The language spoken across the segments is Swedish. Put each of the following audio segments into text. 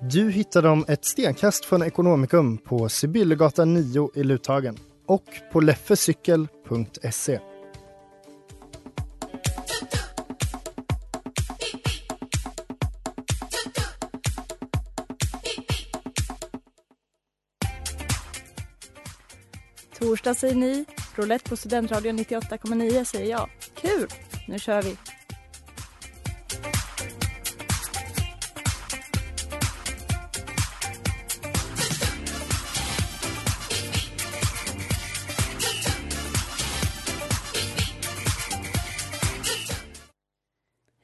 Du hittar dem ett stenkast från Ekonomikum på Sibyllegatan 9 i Luthagen och på leffecykel.se. Torsdag säger ni, roulette på Studentradion 98,9 säger jag. Kul! Nu kör vi!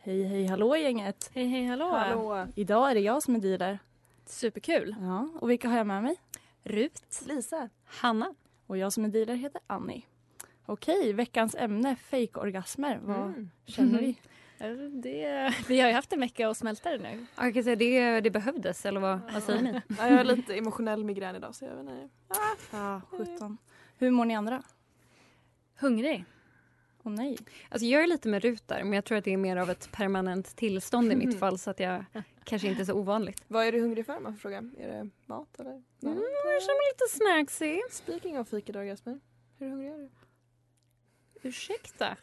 Hej, hej, hallå gänget! Hej, hej, hallå. Hallå! Idag är det jag som är dealer. Superkul. Ja, och vilka har jag med mig? Rut. Lisa. Hanna. Och jag som är dealer heter Annie. Okej, veckans ämne, fake-orgasmer. Vad känner vi? Mhm. Det, vi har ju haft en vecka och smälta det nu. Jag kan säga det, det behövdes, eller vad, vad säger ni? Ja, jag har lite emotionell migrän idag så jag vet inte. Eh. Ah, 17. Hur mår ni andra? Hungrig. Åh nej. Alltså jag är lite med Rut där, men jag tror att det är mer av ett permanent tillstånd i mitt fall så att jag kanske inte är så ovanligt. Vad är du hungrig för om man får fråga? Är det mat eller? något annat? Lite snacksig. Mm, Speaking of fikaorgasmer, hur hungrig är du? Ursäkta?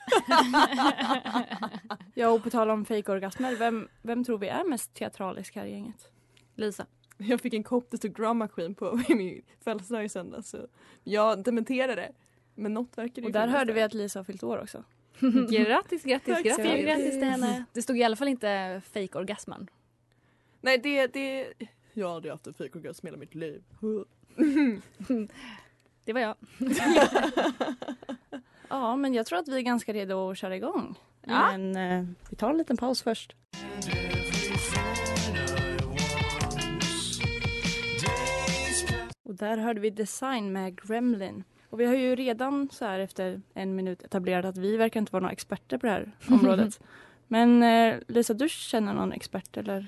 Ja, och på tal om fake-orgasmer, vem, vem tror vi är mest teatralisk här i gänget? Lisa. Jag fick en kopp det stod drama queen på i min födelsedag i söndags. Så jag dementerade det. Men något verkar det Och ju där finnas hörde vi att Lisa har fyllt år också. Grattis, grattis, Tack så grattis. mycket. Grattis till henne. Det stod i alla fall inte fake orgasmen. Nej det, det... Jag har aldrig haft en fikaorgasm i hela mitt liv. Det var jag. Ja, men jag tror att vi är ganska redo att köra igång. Ja. Men eh, vi tar en liten paus först. Och där hörde vi Design med Gremlin. Och vi har ju redan så här efter en minut etablerat att vi verkar inte vara några experter på det här området. Men eh, Lisa, du känner någon expert eller?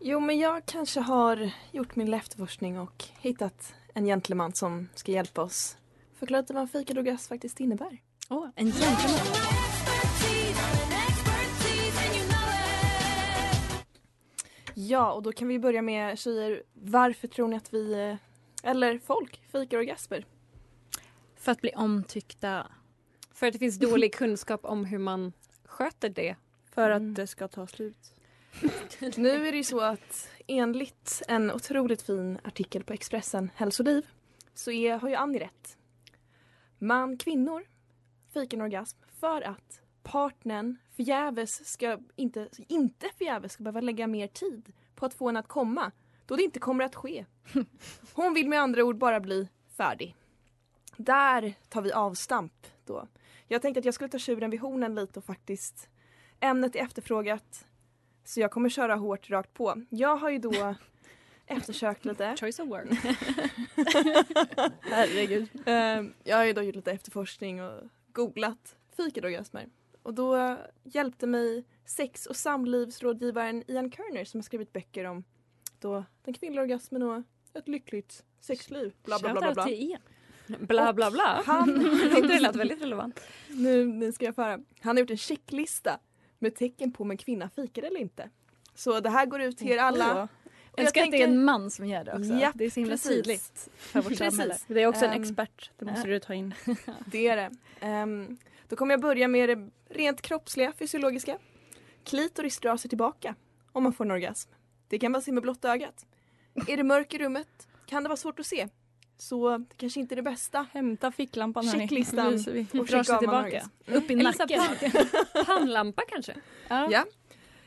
Jo men jag kanske har gjort min efterforskning och hittat en gentleman som ska hjälpa oss förklara lite vad en fikaorgasm faktiskt innebär. Åh, en gentleman. Ja och då kan vi börja med tjejer, varför tror ni att vi, eh, eller folk, fikar orgasmer? För att bli omtyckta. För att det finns dålig kunskap om hur man sköter det. För att Mm. det ska ta slut. Nu är det ju så att enligt en otroligt fin artikel på Expressen Hälsoliv så är, har ju Annie rätt. Man, kvinnor fikar en orgasm för att partnern förgäves ska inte, inte förgäves ska behöva lägga mer tid på att få henne att komma då det inte kommer att ske. Hon vill med andra ord bara bli färdig. Där tar vi avstamp då. Jag tänkte att jag skulle ta tjuren vid hornen lite och faktiskt ämnet är efterfrågat så jag kommer köra hårt rakt på. Jag har ju då eftersökt lite. Choice of word. Herregud. Eh, jag har ju då gjort lite efterforskning och googlat fikaorgasmer. Och då hjälpte mig sex och samlivsrådgivaren Ian Kerner som har skrivit böcker om då den kvinnliga orgasmen och ett lyckligt sexliv. Bla, bla, bla, bla, bla. till er. Bla, bla, bla. Han, Jag tyckte det lät väldigt relevant. nu, nu ska jag föra. Han har gjort en checklista med tecken på om en kvinna fikar eller inte. Så det här går ut till er alla. Och Jag jag önskar att det är tänker- en man som gör det också. Japp, det är så himla precis. tydligt för vårt Precis. samhälle. Det är också Ehm, en expert, det måste du ta in. Det är det. Ehm, då kommer jag börja med det rent kroppsliga, fysiologiska. Klitoris drar sig tillbaka om man får en orgasm. Det kan man se med blotta ögat. Är det mörkt i rummet Kan det vara svårt att se så det kanske inte är det bästa. Hämta ficklampan hörni. Checklistan. Nu lyser vi. Och Drar sig tillbaka. manorgas. Upp i Eller så nacken. pan- pannlampa kanske? Ja. Ja.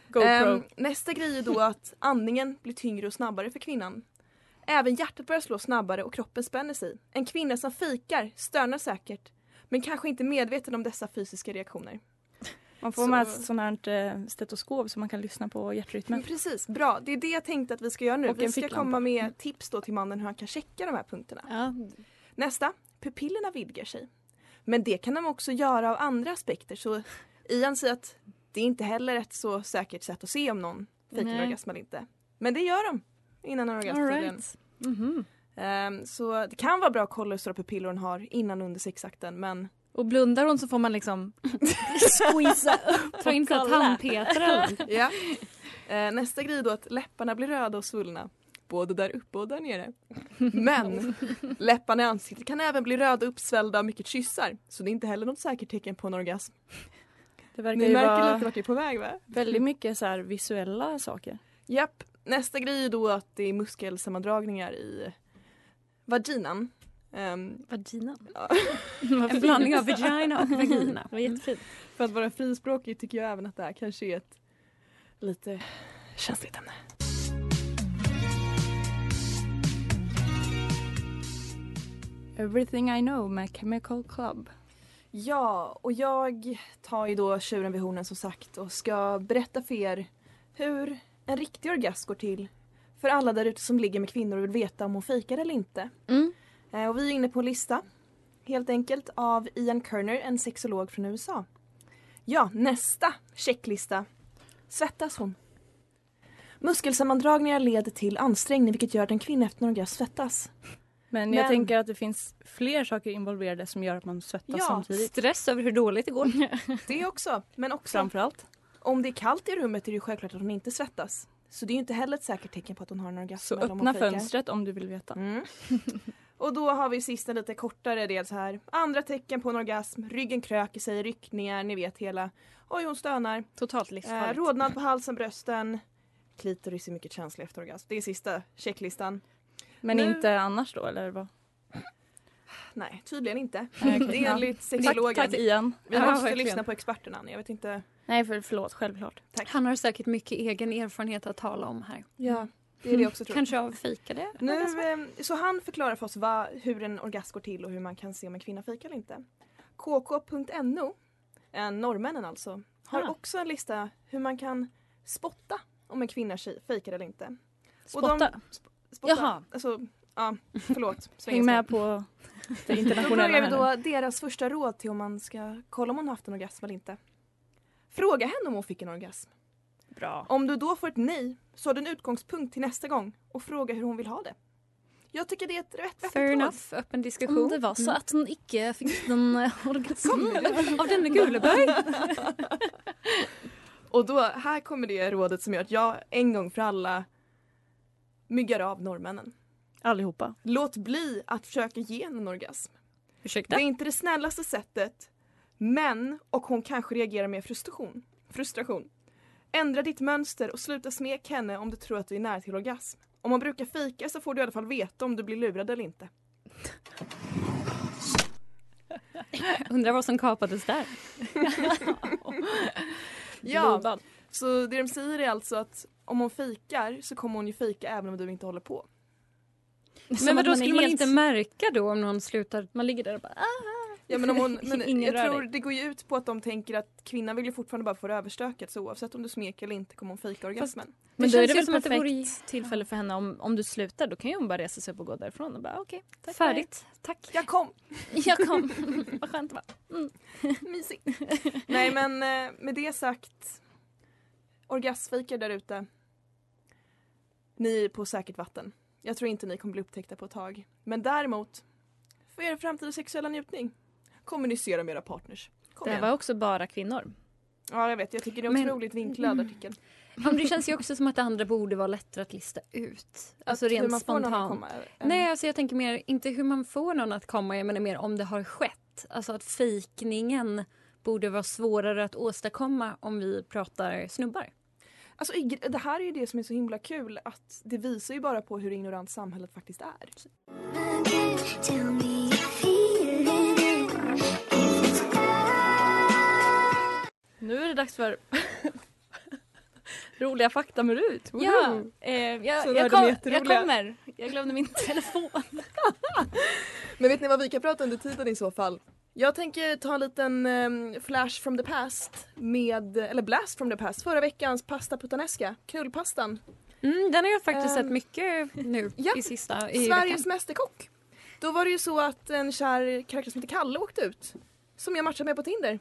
GoPro. Ehm, nästa grej är då att andningen blir tyngre och snabbare för kvinnan. Även hjärtat börjar slå snabbare och kroppen spänner sig. En kvinna som fikar stönar säkert men kanske inte medveten om dessa fysiska reaktioner. man får så- med ett sånt här eh, stetoskop så man kan lyssna på hjärtrytmen. Men Mm. precis, bra. Det är det jag tänkte att vi ska göra nu. Och vi en ska ficklampa. komma med tips då till mannen hur han kan checka de här punkterna. Mm. Ja. Nästa, pupillerna vidgar sig. Men det kan de också göra av andra aspekter så Ian säger att det är inte heller ett så säkert sätt att se om någon fejkar en Nej. orgasm eller inte. Men det gör de innan en orgasm All tydligen. right. Mhm. Ehm, så det kan vara bra att kolla hur stora pupiller hon har innan och under sexakten men Och blundar hon så får man liksom squeeza upp Ta in och så här kolla. tandpetare eller någonting. ja. Ehm, nästa grej då är att läpparna blir röda och svullna. Både där uppe och där nere. Men läpparna i ansiktet kan även bli röda och uppsvällda av mycket kyssar. Så det är inte heller något säkert tecken på en orgasm. Det verkar Ni ju märker vara lite vart vi är på väg va? väldigt mycket så här visuella saker. Japp. Nästa grej är då att det är muskelsammandragningar i vaginan. Ehm, Vaginan. Ja. En blandning av vagina och vagina. Mm. Det var jättefint. för att vara frispråkig tycker jag även att det här kanske är ett lite känsligt ämne. Everything I know med Chemical Club. Ja, och jag tar ju då tjuren vid hornen som sagt och ska berätta för er hur en riktig orgasm går till för alla där ute som ligger med kvinnor och vill veta om hon fejkar eller inte. Mm. Eh, Och vi är inne på en lista helt enkelt av Ian Kerner, en sexolog från USA. Ja, nästa checklista. Svettas hon? Muskelsammandragningar leder till ansträngning vilket gör att en kvinna efter en orgasm svettas. Men jag Men- tänker att det finns fler saker involverade som gör att man svettas Ja. samtidigt. Stress över hur dåligt det går. Det också, men också Framförallt. om det är kallt i rummet är det ju självklart att hon inte svettas. Så det är ju inte heller ett säkert tecken på att hon har en orgasm. Så eller om öppna hon fejkar. fönstret om du vill veta. Mm. Och då har vi sista lite kortare del så här. Andra tecken på en orgasm, ryggen kröker sig, ryckningar, ni vet hela. Oj, hon stönar. Totalt Eh, livsfarligt. rodnad på halsen, brösten. Klitoris är mycket känslig efter orgasm. Det är sista checklistan. Men Nu- inte annars då eller vad? Nej, tydligen inte. Eh, Nej, okej. Det är enligt Tack, sexologen. tack Ian. Vi Ja, måste verkligen. lyssna på experterna. Jag vet inte. Nej för, förlåt, självklart. Han har säkert mycket egen erfarenhet att tala om här. Ja, det är det också tror jag. Kanske av fejkade Nu, eh, så han förklarar för oss vad, hur en orgasm går till och hur man kan se om en kvinna fikar eller inte. KK.no, eh, norrmännen alltså, har Ah. också en lista hur man kan spotta om en kvinna tjej- fejkar eller inte. Och de- Spotta. Spotta, Jaha. Alltså, ja, förlåt. Häng med på det Då internationella börjar vi här nu. då deras första råd till om man ska kolla om hon har haft en orgasm eller inte. Fråga henne om hon fick en orgasm. Bra. Om du då får ett nej så har du en utgångspunkt till nästa gång och fråga hur hon vill ha det. Jag tycker det är ett rätt vettigt Fair råd. enough, öppen Om diskussion. Mm, Mm. det var så att hon icke fick den Mm. eh, orgasmen. Av denne Guleberg. Och då, här kommer det rådet som gör att jag en gång för alla myggar av norrmännen. Allihopa. Låt bli att försöka ge henne en orgasm. Det Ursäkta? är inte det snällaste sättet, men, och hon kanske reagerar med frustration. frustration. Ändra ditt mönster och sluta smeka henne om du tror att du är nära till orgasm. Om man brukar fika så får du i alla fall veta om du blir lurad eller inte. Undrar vad som kapades där. Ja, så det de säger är alltså att om hon fikar så kommer hon ju fika även om du inte håller på. Men vadå, man är skulle man helt- inte märka då om någon slutar? Man ligger där och bara ah. Ja, men om hon, men Ingen jag rör tror det går ju ut på att de tänker att kvinnan vill ju fortfarande bara få det överstökat så oavsett om du smeker eller inte kommer hon fejka orgasmen. Men Det då är känns det ju väl som att perfekt det vore tillfälle för henne om, om du slutar. Då kan ju hon bara resa sig upp och gå därifrån och bara okej. tack för Färdigt. Tack. Jag kom! det. Jag kom. Vad skönt det var. Mysigt. Nej men eh, med det sagt orgasmfikar där ute. Ni är på säkert vatten. Jag tror inte ni kommer bli upptäckta på ett tag. Men däremot för er framtida sexuella njutning kommunicera med era partners. Kom Det här igen. var också bara kvinnor. Ja jag vet, jag tycker det är en Men- otroligt vinklad artikel. Ja, men det känns ju också som att det andra borde vara lättare att lista ut. Alltså Att hur rent man får någon att spontant. komma över. Nej, alltså jag tänker mer, inte hur man får någon att komma, jag menar mer om det har skett. Alltså att fejkningen borde vara svårare att åstadkomma om vi pratar snubbar. Alltså, i gr- det här är ju det som är så himla kul att det visar ju bara på hur ignorant samhället faktiskt är. Nu är det dags för roliga fakta med Rut. Ja, Woho! eh, jag, Så jag, är de kom, jag jätteroliga. kommer. Jag glömde min telefon. Men vet ni vad vi kan prata under tiden i så fall? Jag tänker ta en liten ehm, flash from the past med, eller blast from the past, förra veckans pasta puttanesca, knullpastan. Mm, den har jag faktiskt Ehm, sett mycket nu ja. i sista i Sveriges veckan. Mästerkock. Då var det ju så att en kär karaktär som heter Kalle åkte ut. Som jag matchade med på Tinder.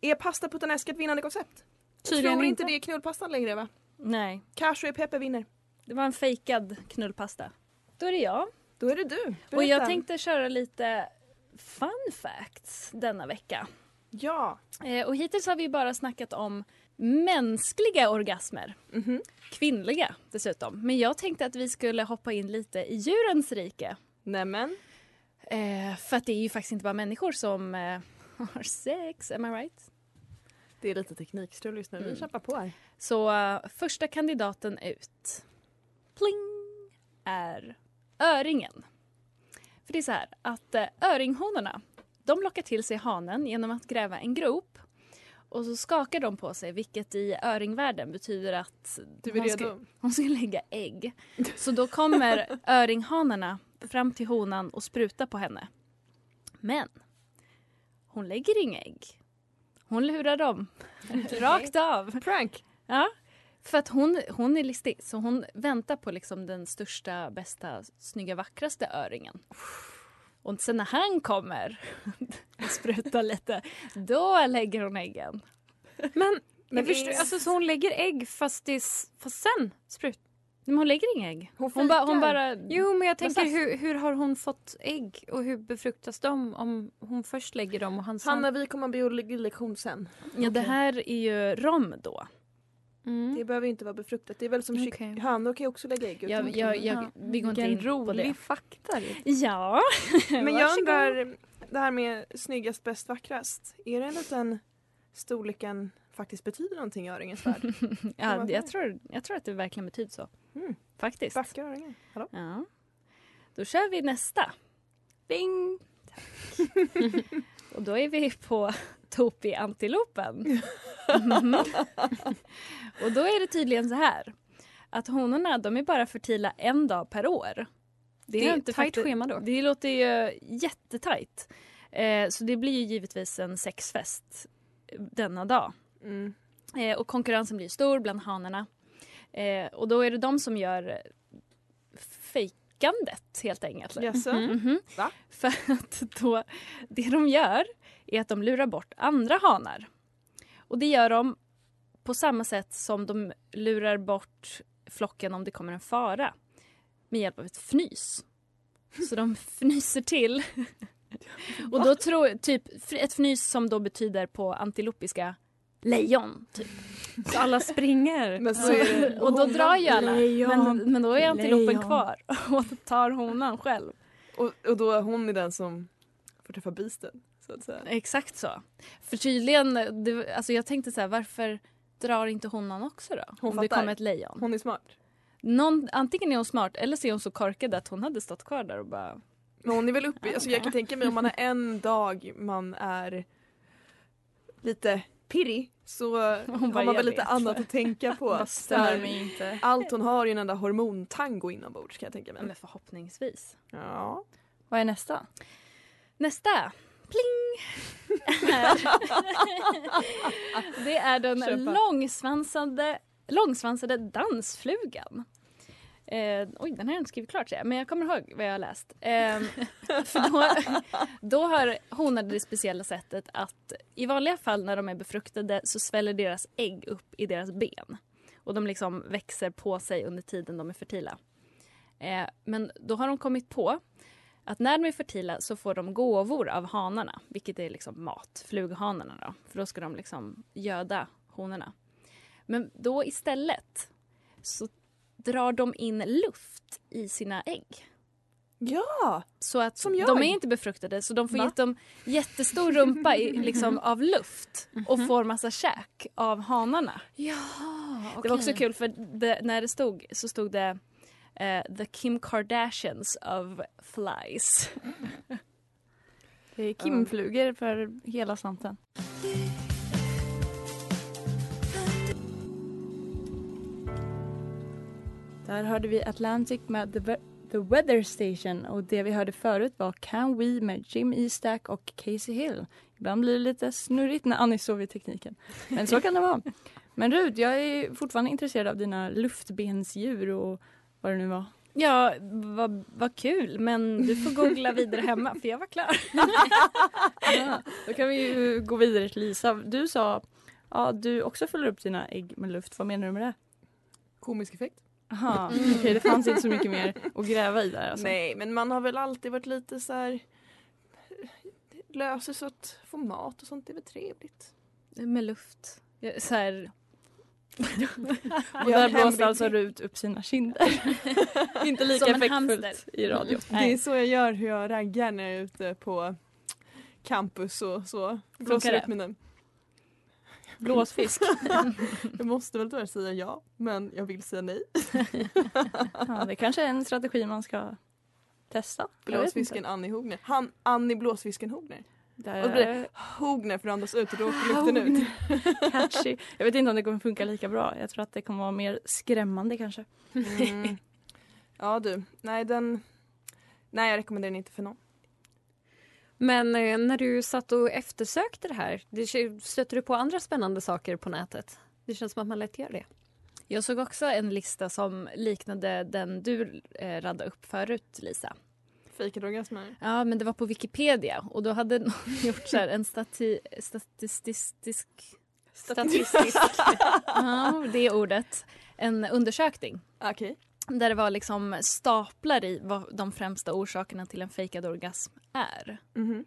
Är pasta puttanesca ett vinnande koncept? Tydligen Tror inte inte. det är knullpastan längre va? Nej, Cashew och Pepe vinner. det var en fejkad knullpasta. Då är det jag. Då är det du. Berätta. Och jag tänkte köra lite fun facts denna vecka. Ja. Eh, och hittills har vi bara snackat om mänskliga orgasmer. Mhm. Kvinnliga dessutom. Men jag tänkte att vi skulle hoppa in lite i djurens rike. Nämen. Eh, för att det är ju faktiskt inte bara människor som eh, har sex, am I right? Det är lite teknikstrul just nu. Mm. kämpar på här. Så eh, första kandidaten ut, pling, är öringen. För det är så här att eh, öringhonorna, de lockar till sig hanen genom att gräva en grop och så skakar de på sig, vilket i öringvärlden betyder att Du är hon ska, redo. hon ska lägga ägg. Så då kommer öringhanarna fram till honan och sprutar på henne. Men hon lägger inga ägg. Hon lurar dem rakt av. Prank. Ja, för att hon, hon är listig. Så hon väntar på liksom den största, bästa, snygga, vackraste öringen. Och sen när han kommer och sprutar lite, då lägger hon äggen. Men, Men jag förstår, det är- alltså, så hon lägger ägg fast, det, s- fast sen sprut. Men hon lägger inga ägg. Hon Hon, ba, hon fikar. bara... Jo men jag tänker fast- hur, hur har hon fått ägg och hur befruktas de om hon först lägger dem och han sen? Hanna, vi kommer ha en biologilektion sen. Ja, det här är ju rom då. Mm. Det behöver ju inte vara befruktat. Det är väl som kyck- Okej. hönor kan ju också lägga ägg. utan Jag, att- jag, jag, Ja. vi går inte Vilken in på det. rolig fakta. det är. Ja. Men jag Varsågod. undrar, det här med snyggast, bäst, vackrast. Är det en liten storleken faktiskt betyder någonting i öringens värld? Ja, jag, tror, jag tror att det verkligen betyder så. Mm. Faktiskt. Backar öringen? Hallå? Ja. Då kör vi nästa. Bing! Tack. Och då är vi på Topi-antilopen. Mhm. Och då är det tydligen så här att honorna de är bara fertila en dag per år. Det är har ett tajt fakti- schema då. Det låter ju jättetajt. Eh, så det blir ju givetvis en sexfest denna dag. Mm. Eh, och konkurrensen blir stor bland hanarna. Eh, och då är det de som gör eh, fejkandet helt enkelt. Jaså? Mhm. Va? För att då, det de gör är att de lurar bort andra hanar. Och det gör de på samma sätt som de lurar bort flocken om det kommer en fara. Med hjälp av ett fnys. Så de fnyser till. Och då tror, typ ett fnys som då betyder på antilopiska lejon. Typ. Så alla springer. Men så är det. Och då drar ju alla. Lejon. Men, men då är antilopen Lejon. kvar och tar honan själv. Och, och då hon är den som får träffa bisten så att säga. Exakt så. För tydligen, det, alltså jag tänkte så här, varför drar inte honan också då? Hon Om det fattar. kommer ett lejon. Hon är smart. Någon, antingen är hon smart eller så är hon så korkad att hon hade stått kvar där och bara... Men hon är väl uppe i- alltså jag kan tänka mig om man har en dag man är lite pirrig så Hon bara, har man jag väl lite vet. annat att tänka på. Så här, inte. Mm. Allt hon har är en enda hormontango inombords kan jag tänka mig. Men förhoppningsvis. Ja. Vad är nästa? Nästa! Pling! det är den Köpa. långsvansade, långsvansade dansflugan. Eh, oj, den har jag inte skrivit klart ser jag, men jag kommer ihåg vad jag har läst. Eh, för då, då har honade det speciella sättet att i vanliga fall när de är befruktade så sväller deras ägg upp i deras ben. Och de liksom växer på sig under tiden de är fertila. Eh, men då har de kommit på att när de är fertila så får de gåvor av hanarna, vilket är liksom mat, flughanarna då, för då ska de liksom göda honorna. Men då istället så drar de in luft i sina ägg Ja! Så att Som jag. de är inte befruktade så de får Va? gett dem jättestor rumpa i, liksom, av luft Mhm. och får massa käk av hanarna. Jaha, Det var också kul för det, när det stod så stod det eh, The Kim Kardashians of Flies. Det är Kimflugor för hela slanten. Där hörde vi Atlantic med The, Ve- The Weather Station och det vi hörde förut var Can We med Jim Eastack och Casey Hill. Ibland blir det lite snurrigt när Annie sover i tekniken. Men så kan det vara. Men Rud, jag är fortfarande intresserad av dina luftbensdjur och vad det nu var. Ja, vad vad kul men du får googla vidare hemma för jag var klar. Ja, då kan vi ju gå vidare till Lisa. Du sa ja, du också fyller upp dina ägg med luft. Vad menar du med det? Komisk effekt. Aha, okej det fanns inte så mycket mer att gräva i där. Alltså. Nej, men man har väl alltid varit lite så här löser så att få mat och sånt, det är väl trevligt. Med luft. Jag- Så här, Och där blåste alltså Rut upp sina kinder. inte lika Som en effektfullt hamster. i radio. Det är så jag gör hur jag raggar när jag är ute på campus och så. Blåser det? upp mina... Blåsfisk. Jag måste väl tyvärr säga ja, men jag vill säga nej. Ja, det kanske är en strategi man ska testa. Jag vet inte. Blåsfisken Annie Hogner. Han, Annie Blåsfisken Hogner. Och då blir Där, det Hogner för att andas ut och då åker lukten ut. catchy. Jag vet inte om det kommer funka lika bra. Jag tror att det kommer vara mer skrämmande kanske. Mm. Ja du, nej den... Nej jag rekommenderar den inte för någon. Men eh, när du satt och eftersökte det här, det, stötte du på andra spännande saker på nätet? Det känns som att man lätt gör det. jag såg också en lista som liknade den du eh, raddade upp förut Lisa. Fejkadorgasmer. Ja, men det var på Wikipedia och då hade någon gjort så här en stati, statistisk... Statistisk. ja, det ordet. En undersökning Okej. där det var liksom staplar i vad de främsta orsakerna till en fejkad orgasm är. Mhm.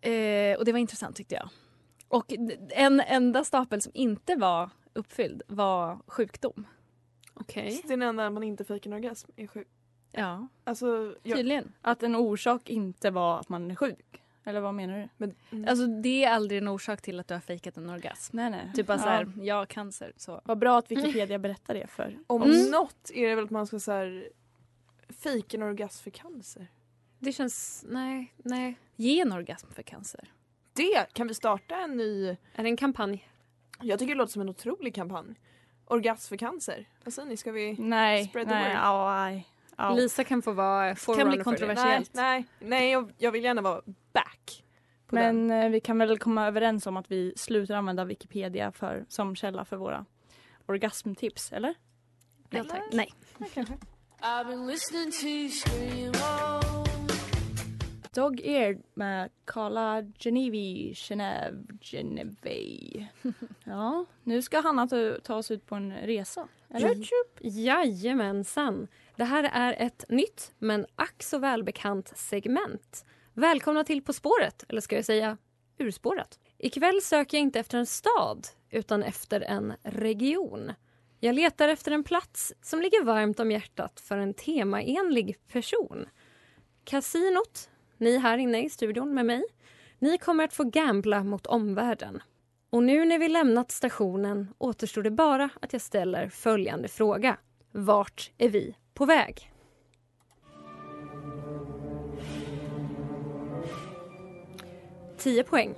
Eh, och det var intressant tyckte jag. Och d- en enda stapel som inte var uppfylld var sjukdom. Okej. Så det är den enda man inte fejkar en orgasm är sjuk. Ja, Alltså, jag, tydligen. Att en orsak inte var att man är sjuk. Eller vad menar du? men, mm. Alltså det är aldrig en orsak till att du har fejkat en orgasm. Nej, nej. Typ bara så Ja. här, jag har cancer. Så. Vad bra att Wikipedia berättar det för om Mm. något är det väl att man ska så här, fejka en orgasm för cancer. Det känns... Nej, nej. Ge en orgasm för cancer. Det kan vi starta en ny. Är det en kampanj? Jag tycker det låter som en otrolig kampanj. Orgasm för cancer. Vad säger ni? Ska vi? Nej, Spread the nej, word. au, aj. Au. Lisa kan få vara forerunner för det. Nej, nej, nej jag, jag vill gärna vara back. På den. Men eh, vi kan väl komma överens om att vi slutar använda Wikipedia för, som källa för våra orgasmtips, eller? Nej tack. Nej. Dog Eared med Carla Genevi, Geneve, Geneve. ja, nu ska Hanna ta, ta oss ut på en resa, eller? Jajamensan. Det här är ett nytt men ack så välbekant segment. Välkomna till På spåret, eller ska jag säga Urspåret. Ikväll söker jag inte efter en stad, utan efter en region. Jag letar efter en plats som ligger varmt om hjärtat för en temaenlig person. Kasinot, ni här inne i studion med mig, ni kommer att få gambla mot omvärlden. Och nu när vi lämnat stationen återstår det bara att jag ställer följande fråga. Vart är vi på väg? Tio poäng.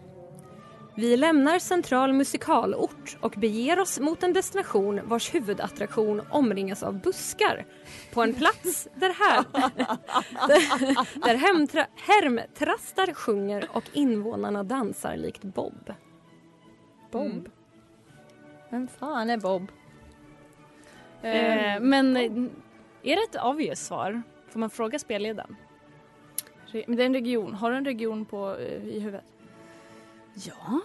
Vi lämnar central musikalort och beger oss mot en destination vars huvudattraktion omringas av buskar på en plats där, här, där, där hemtra, hermtrastar sjunger och invånarna dansar likt Bob. Bob? Mm. Vem fan är Bob? Eh, men eh, är det ett obvious svar? Får man fråga spelledaren? Re- Men det är en region. Har du en region på, eh, i huvudet? Ja.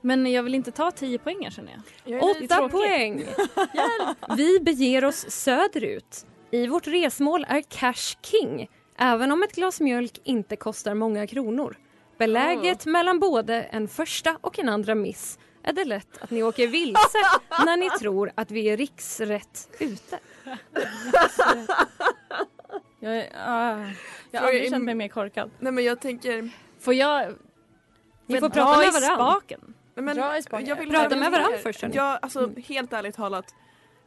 Men jag vill inte ta 10 poäng känner jag. Jag är lite Åtta tråkig. poäng! Vi beger oss söderut. I vårt resmål är cash king, även om ett glas mjölk inte kostar många kronor. Beläget mellan både en första och en andra miss är det lätt att ni åker vilse när ni tror att vi är riksrätt ute. Jag, är- ah, jag Fråga har aldrig in- känt mig mer korkad. Nej men jag tänker... Får jag... Ni får dra prata i med varandra. spaken? Nej, men, Dra i spaken. jag vill Prata höra med mer. varandra först, känner jag. Ja, alltså helt ärligt talat.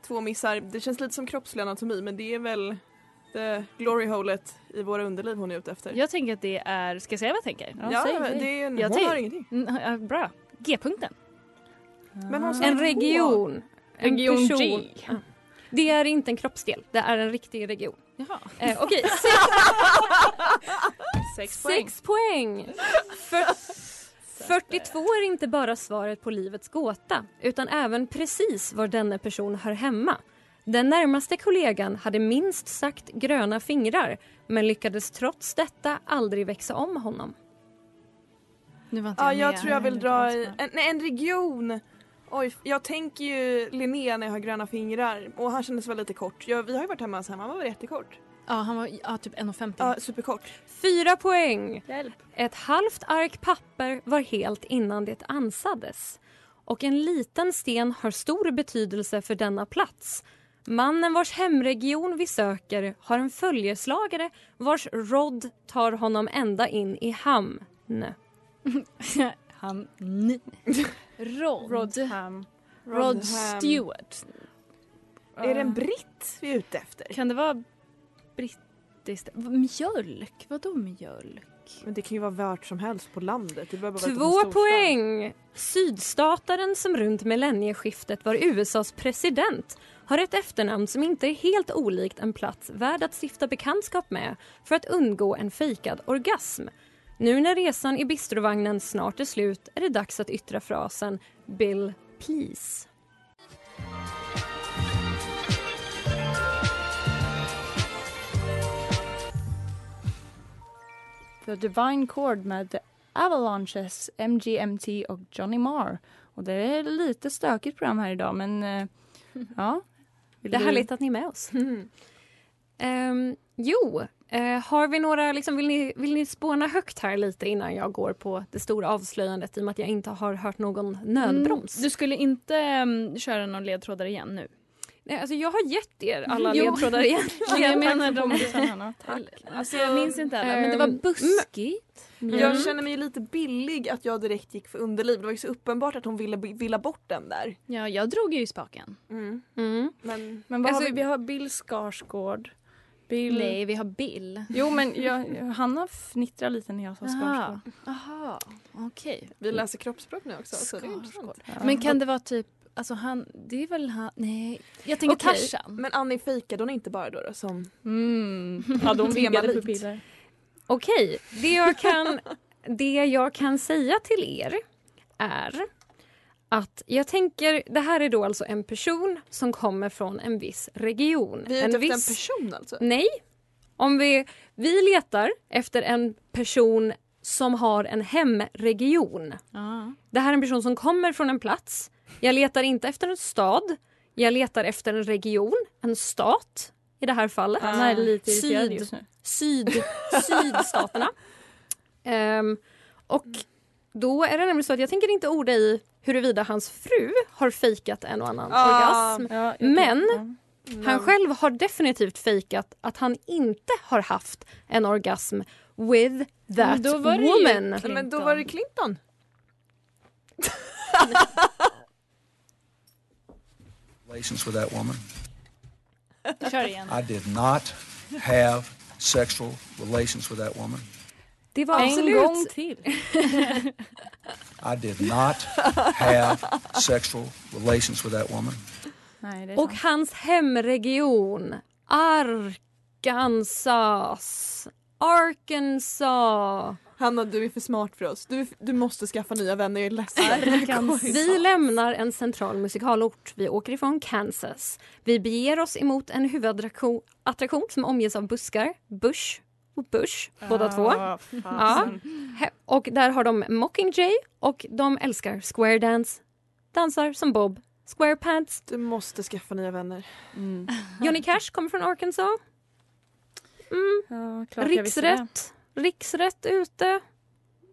Två missar. Det känns lite som kroppslig anatomi men det är väl det glory holet i våra underliv hon är ute efter. Jag tänker att det är... Ska jag säga vad jag tänker? Ja, Ja, säg, säg. det är en, Jag hon tänker- har ingenting. Mm, ja, bra. G-punkten. Men Ah. hon sa En två. region. En Region person. G. Ja. Det är inte en kroppsdel, det är en riktig region. Jaha. Eh, Okej, sex, sex poäng! För, 42 är inte bara svaret på livets gåta utan även precis var denna person hör hemma. Den närmaste kollegan hade minst sagt gröna fingrar men lyckades trots detta aldrig växa om honom. Nu var inte Ja, med. jag tror jag vill dra i... inte alls En, nej, en region! Oj, jag tänker ju Linnea när jag har gröna fingrar och han kändes väl lite kort. Ja, vi har ju varit hemma hos honom, han var väl jättekort. med. Ja, han var ja, typ 1,50. Ja, superkort. Fyra poäng! Hjälp. Ett halvt ark papper var helt innan det ansades. Och en liten sten har stor betydelse för denna plats. Mannen vars hemregion vi söker har en följeslagare vars rodd tar honom ända in i hamn. Han... Ni. Rod. Rodham. Rod Stewart. Är det en britt vi är ute efter? Kan det vara brittiskt? V- Mjölk? Vadå mjölk? Men det kan ju vara vart som helst på landet. Det behöver bara vara typ Två utanför storstan. poäng! Sydstataren som runt millennieskiftet var USAs president har ett efternamn som inte är helt olikt en plats värd att stifta bekantskap med för att undgå en fejkad orgasm. Nu när resan i bistrovagnen snart är slut är det dags att yttra frasen Bill, please. The Divine Chord med The Avalanches, MGMT och Johnny Marr. Och det är lite stökigt program här idag men eh, ja. Vill Det är du- härligt att ni är med oss. Ehm, jo, eh, har vi några, liksom, vill, ni, vill ni spåna högt här lite innan jag går på det stora avslöjandet i och med att jag inte har hört någon nödbroms? Mm, Du skulle inte ehm, köra någon ledtrådare igen nu? Nej, alltså jag har gett er alla Mm, Jo. ledtrådar Ja, egentligen. jag men- menar de... Hanna. Alltså, jag minns inte alla, men det var Ehm, buskigt. Jag känner mig ju lite billig att jag direkt gick för underliv. Det var ju så uppenbart att hon ville villa bort den där. Ja, jag drog ju i spaken. Mm. Men Men vad har Alltså- vi? Vi har Bill Skarsgård. Bill... Nej, vi har Bill. Jo men jag, Hanna fnittrar lite när jag sa Skarsgård. Aha, okej. vi läser kroppsspråk nu också. Så det är intressant. Skarsgård. Men kan det vara typ, alltså han, det är väl han, nej. Jag tänker Okej. Tarzan. Men Annie fejkade hon inte bara då? då som... Mm. Ja, de vidgade Temalikt. pupiller. Okej, det jag, kan, det jag kan säga till er är att jag tänker, det här är då alltså en person som kommer från en viss region. Vi är typ ute efter en viss, Mm. person alltså? Nej. Om vi, vi letar efter en person som har en hemregion. Ja. Det här är en person som kommer från en plats. Jag letar inte efter en stad. Jag letar efter en region, en stat i det här fallet. Ah, Hanna är lite irriterad Syd. just nu. Syd, sydstaterna. Ehm, och då är det nämligen så att jag tänker inte orda i huruvida hans fru har fejkat en och annan Ah. orgasm. Ja, jag Men- tänkte- Han själv har definitivt fejkat att han inte har haft en orgasm with that Men då var det ju liksom. woman. Clinton. Men då var det Clinton. relations with that woman. Kör igen. I did not have sexual relations with that woman. Det var absolut... En gång till. I did not have sexual relations with that woman. Nej, det är Och sant. hans hemregion, Arkansas. Arkansas. Hanna du är för smart för oss. Du, du måste skaffa nya vänner, jag är ledsen. Vi lämnar en central musikalort. Vi åker ifrån Kansas. Vi beger oss emot en huvudattraktion attraktion som omges av buskar, bush och bush, båda två. Ah, Ja. He- Och där har de Mockingjay och de älskar square dance. Dansar som Bob. Square pants. Du måste skaffa nya vänner. Mm. Johnny Cash kommer från Arkansas. Mm. Ja, klart jag visste det. Riksrätt. Riksrätt ute.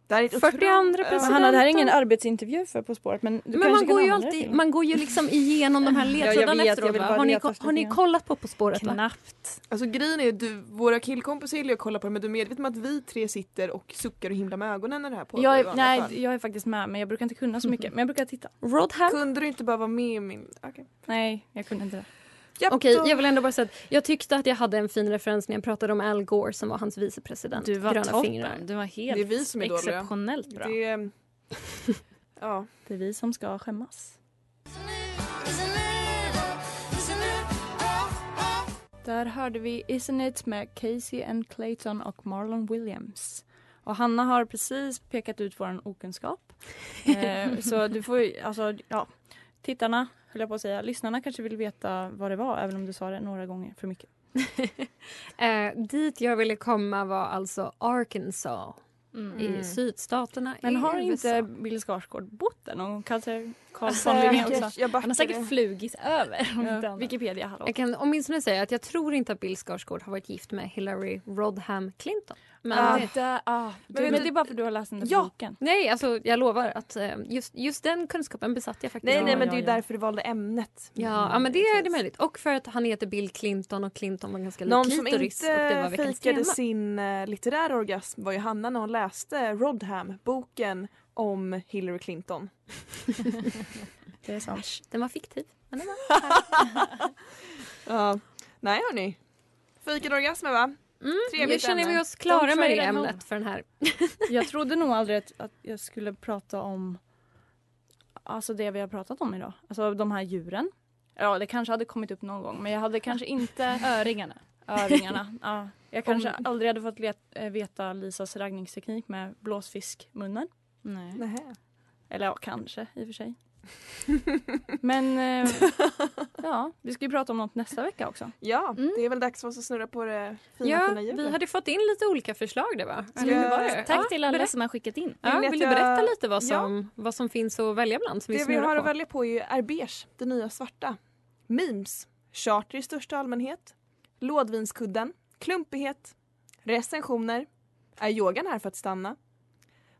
Det här är ett 42 otroligt- president. Hanna, det här är ingen arbetsintervju för På spåret. Men, du Men kanske man kan går, ju använda det alltid, till- man går ju liksom igenom de här Ja, jag ledtrådarna vet, jag efteråt. vill va? bara Har ni, leta har ni lite grann. kollat på På spåret? va? Knappt. Alltså grejen är ju du, våra killkompisar gillar ju att kolla på det men du är medveten om att vi tre sitter och suckar och himlar med ögonen när det här pågår? jag i är, alla fall. nej, jag är faktiskt med men jag brukar inte kunna så mycket. Men jag brukar titta. Roadham? Kunde du inte bara vara med i min... Okej. Nej, jag kunde inte det. Japp, Okej, då- jag vill ändå bara säga att jag tyckte att jag hade en fin referens när jag pratade om Al Gore som var hans vicepresident. Du var Gröna toppen. fingrar. Du var helt Det är vi som är dåliga. exceptionellt bra. Det... Ja. Det är vi som ska skämmas. Där hörde vi Isn't It med Casey and Clayton och Marlon Williams. Och Hanna har precis pekat ut vår okunskap. Eh, så du får ju, alltså ja, tittarna höll jag på att säga, lyssnarna kanske vill veta vad det var även om du sa det några gånger för mycket. Eh, dit jag ville komma var alltså Arkansas Mm. i sydstaterna Men i har USA. inte Bill Skarsgård bott där någon gång? Kanske Carl Alltså, von Linné jag- också? Jag Han har backar säkert det. flugit över. Om inte Ja, annat. Wikipedia, hallå. Jag kan åtminstone säga att jag tror inte att Bill Skarsgård har varit gift med Hillary Rodham Clinton. Men Ah, det, det, ah, Men du, vet men du- det är bara för att du har läst den där Ja. boken. nej, alltså jag lovar att eh, just, just den kunskapen besatt jag faktiskt. Nej nej Ja, men ja, det är ju ja. därför du valde ämnet. Ja, ja, men det är det möjligt. Och för att han heter Bill Clinton och Clinton var ganska lik Någon som klitoris. och det var inte veckans fejkade tema. sin eh, litterära orgasm var ju Hanna när hon läste Rodham, boken om Hillary Clinton. Det är sant. Den var fiktiv. Men den var... Ja. Nej hörni. Fejkad orgasm va? Mm, nu Trevligt känner vi ämne. oss klara Don't med try det it at ämnet home. för den här. Jag trodde nog aldrig att, att jag skulle prata om alltså det vi har pratat om idag. Alltså de här djuren. Ja, det kanske hade kommit upp någon gång men jag hade kanske inte Öringarna. öringarna. Ja, jag kanske aldrig hade fått let, eh, veta Lisas raggningsteknik med blåsfiskmunnen. Nej. Nähä. Eller ja, kanske i och för sig. Men eh, ja, vi ska ju prata om något nästa vecka också. Ja, Mm. det är väl dags för oss att snurra på det fina ja, fina ljudet. vi hade fått in lite olika förslag där va? Ja. hur var det? Tack Ja, till alla berätta. som har skickat in. Ja, Vill ni att vill du jag- berätta lite vad Ja. som, vad som finns att välja bland? Som vi Det vi snurrar har att på? välja på är ju är beige, det nya svarta. Memes, charter i största allmänhet, lådvinskudden, klumpighet, recensioner, är yogan här för att stanna?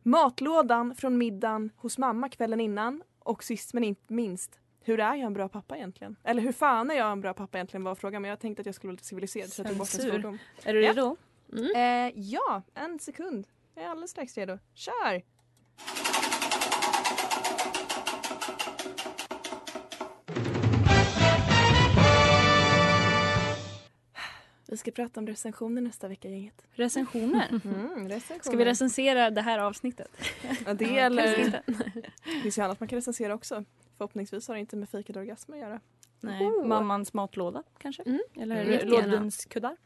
Matlådan från middagen hos mamma kvällen innan och sist men inte minst, hur är jag en bra pappa egentligen? Eller hur fan är jag en bra pappa egentligen var frågan men jag tänkte att jag skulle vara lite civiliserad så jag tog bort en Censur. svordom. Är du Ja. redo? Mm. Eh, ja, en sekund. Jag är alldeles strax redo. Kör! Vi ska prata om recensioner nästa vecka, gänget. Recensioner? Mm, recensioner. Ska vi recensera det här avsnittet? Ja, det eller... Det finns ju annat man kan recensera också. Förhoppningsvis har det inte med fejkad orgasm att göra. Nej. Mammans matlåda kanske? Mm. Eller Jättegärna. lådvinskuddar?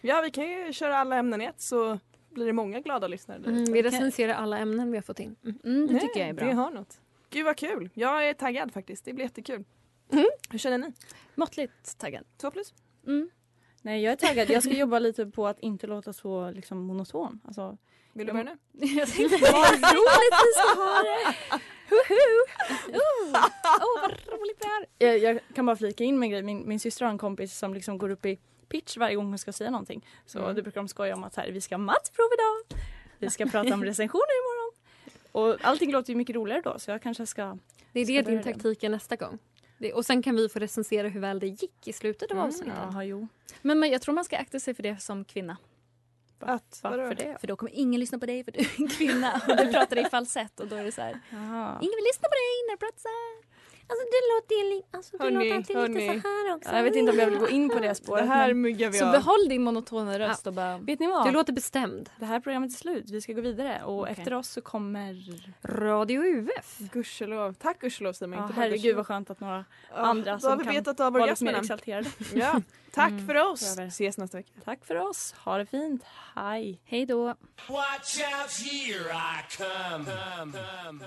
Ja, vi kan ju köra alla ämnen i ett så blir det många glada lyssnare. där Mm, ute. vi recenserar alla ämnen vi har fått in. Mm. Mm, det Nej, tycker jag är bra. Det har något. Gud vad kul. Jag är taggad faktiskt. Det blir jättekul. Mm. Hur känner ni? Måttligt taggad. Två plus? Mm. Nej jag är taggad. Jag ska jobba lite på att inte låta så liksom, monoton. Alltså, Vill du Ja, börja nu? Jag tänkte vad roligt vi ska ha det! Hoho! Oh, oh, vad roligt det är! jag, jag kan bara flika in med en grej. Min, min syster har en kompis som liksom går upp i pitch varje gång hon ska säga någonting. Så Mm. då brukar de skoja om att här, vi ska ha mattprov idag. Vi ska prata om recensioner imorgon. Och allting låter ju mycket roligare då så jag kanske ska... Det är Ska börja det din redan. taktik är nästa gång. Det, och sen kan vi få recensera hur väl det gick i slutet av Mm, avsnittet. Jaha jo. Men man, jag tror man ska akta sig för det som kvinna. Att, vadå? Varför det? För då kommer ingen lyssna på dig för du är en kvinna och du pratar i falsett och då är det så här. Jaha. Ingen vill lyssna på dig när du pratar så här. Alltså du låter, li- alltså, du Hörni, låter alltid hörni. lite så här också. Ja, Jag vet inte om jag vill gå in på det Det spåret. här men- muggar vi Så av. behåll din monotona röst och bara... Vet ni vad? Du låter bestämd. Det här programmet är slut. Vi ska gå vidare och Okej. efter oss så kommer... Radio UF. Gudskelov. Tack gudskelov Simon. Ja, inte bara herregud gudskelov. vad skönt att några Ja, andra Då som har vi kan betat av var lite mer orgasmerna. exalterade. Ja. Tack Mm. för oss. Över. Ses nästa vecka. Tack för oss. Ha det fint. Hej. Hej då. Watch out, here I come. come, come, come.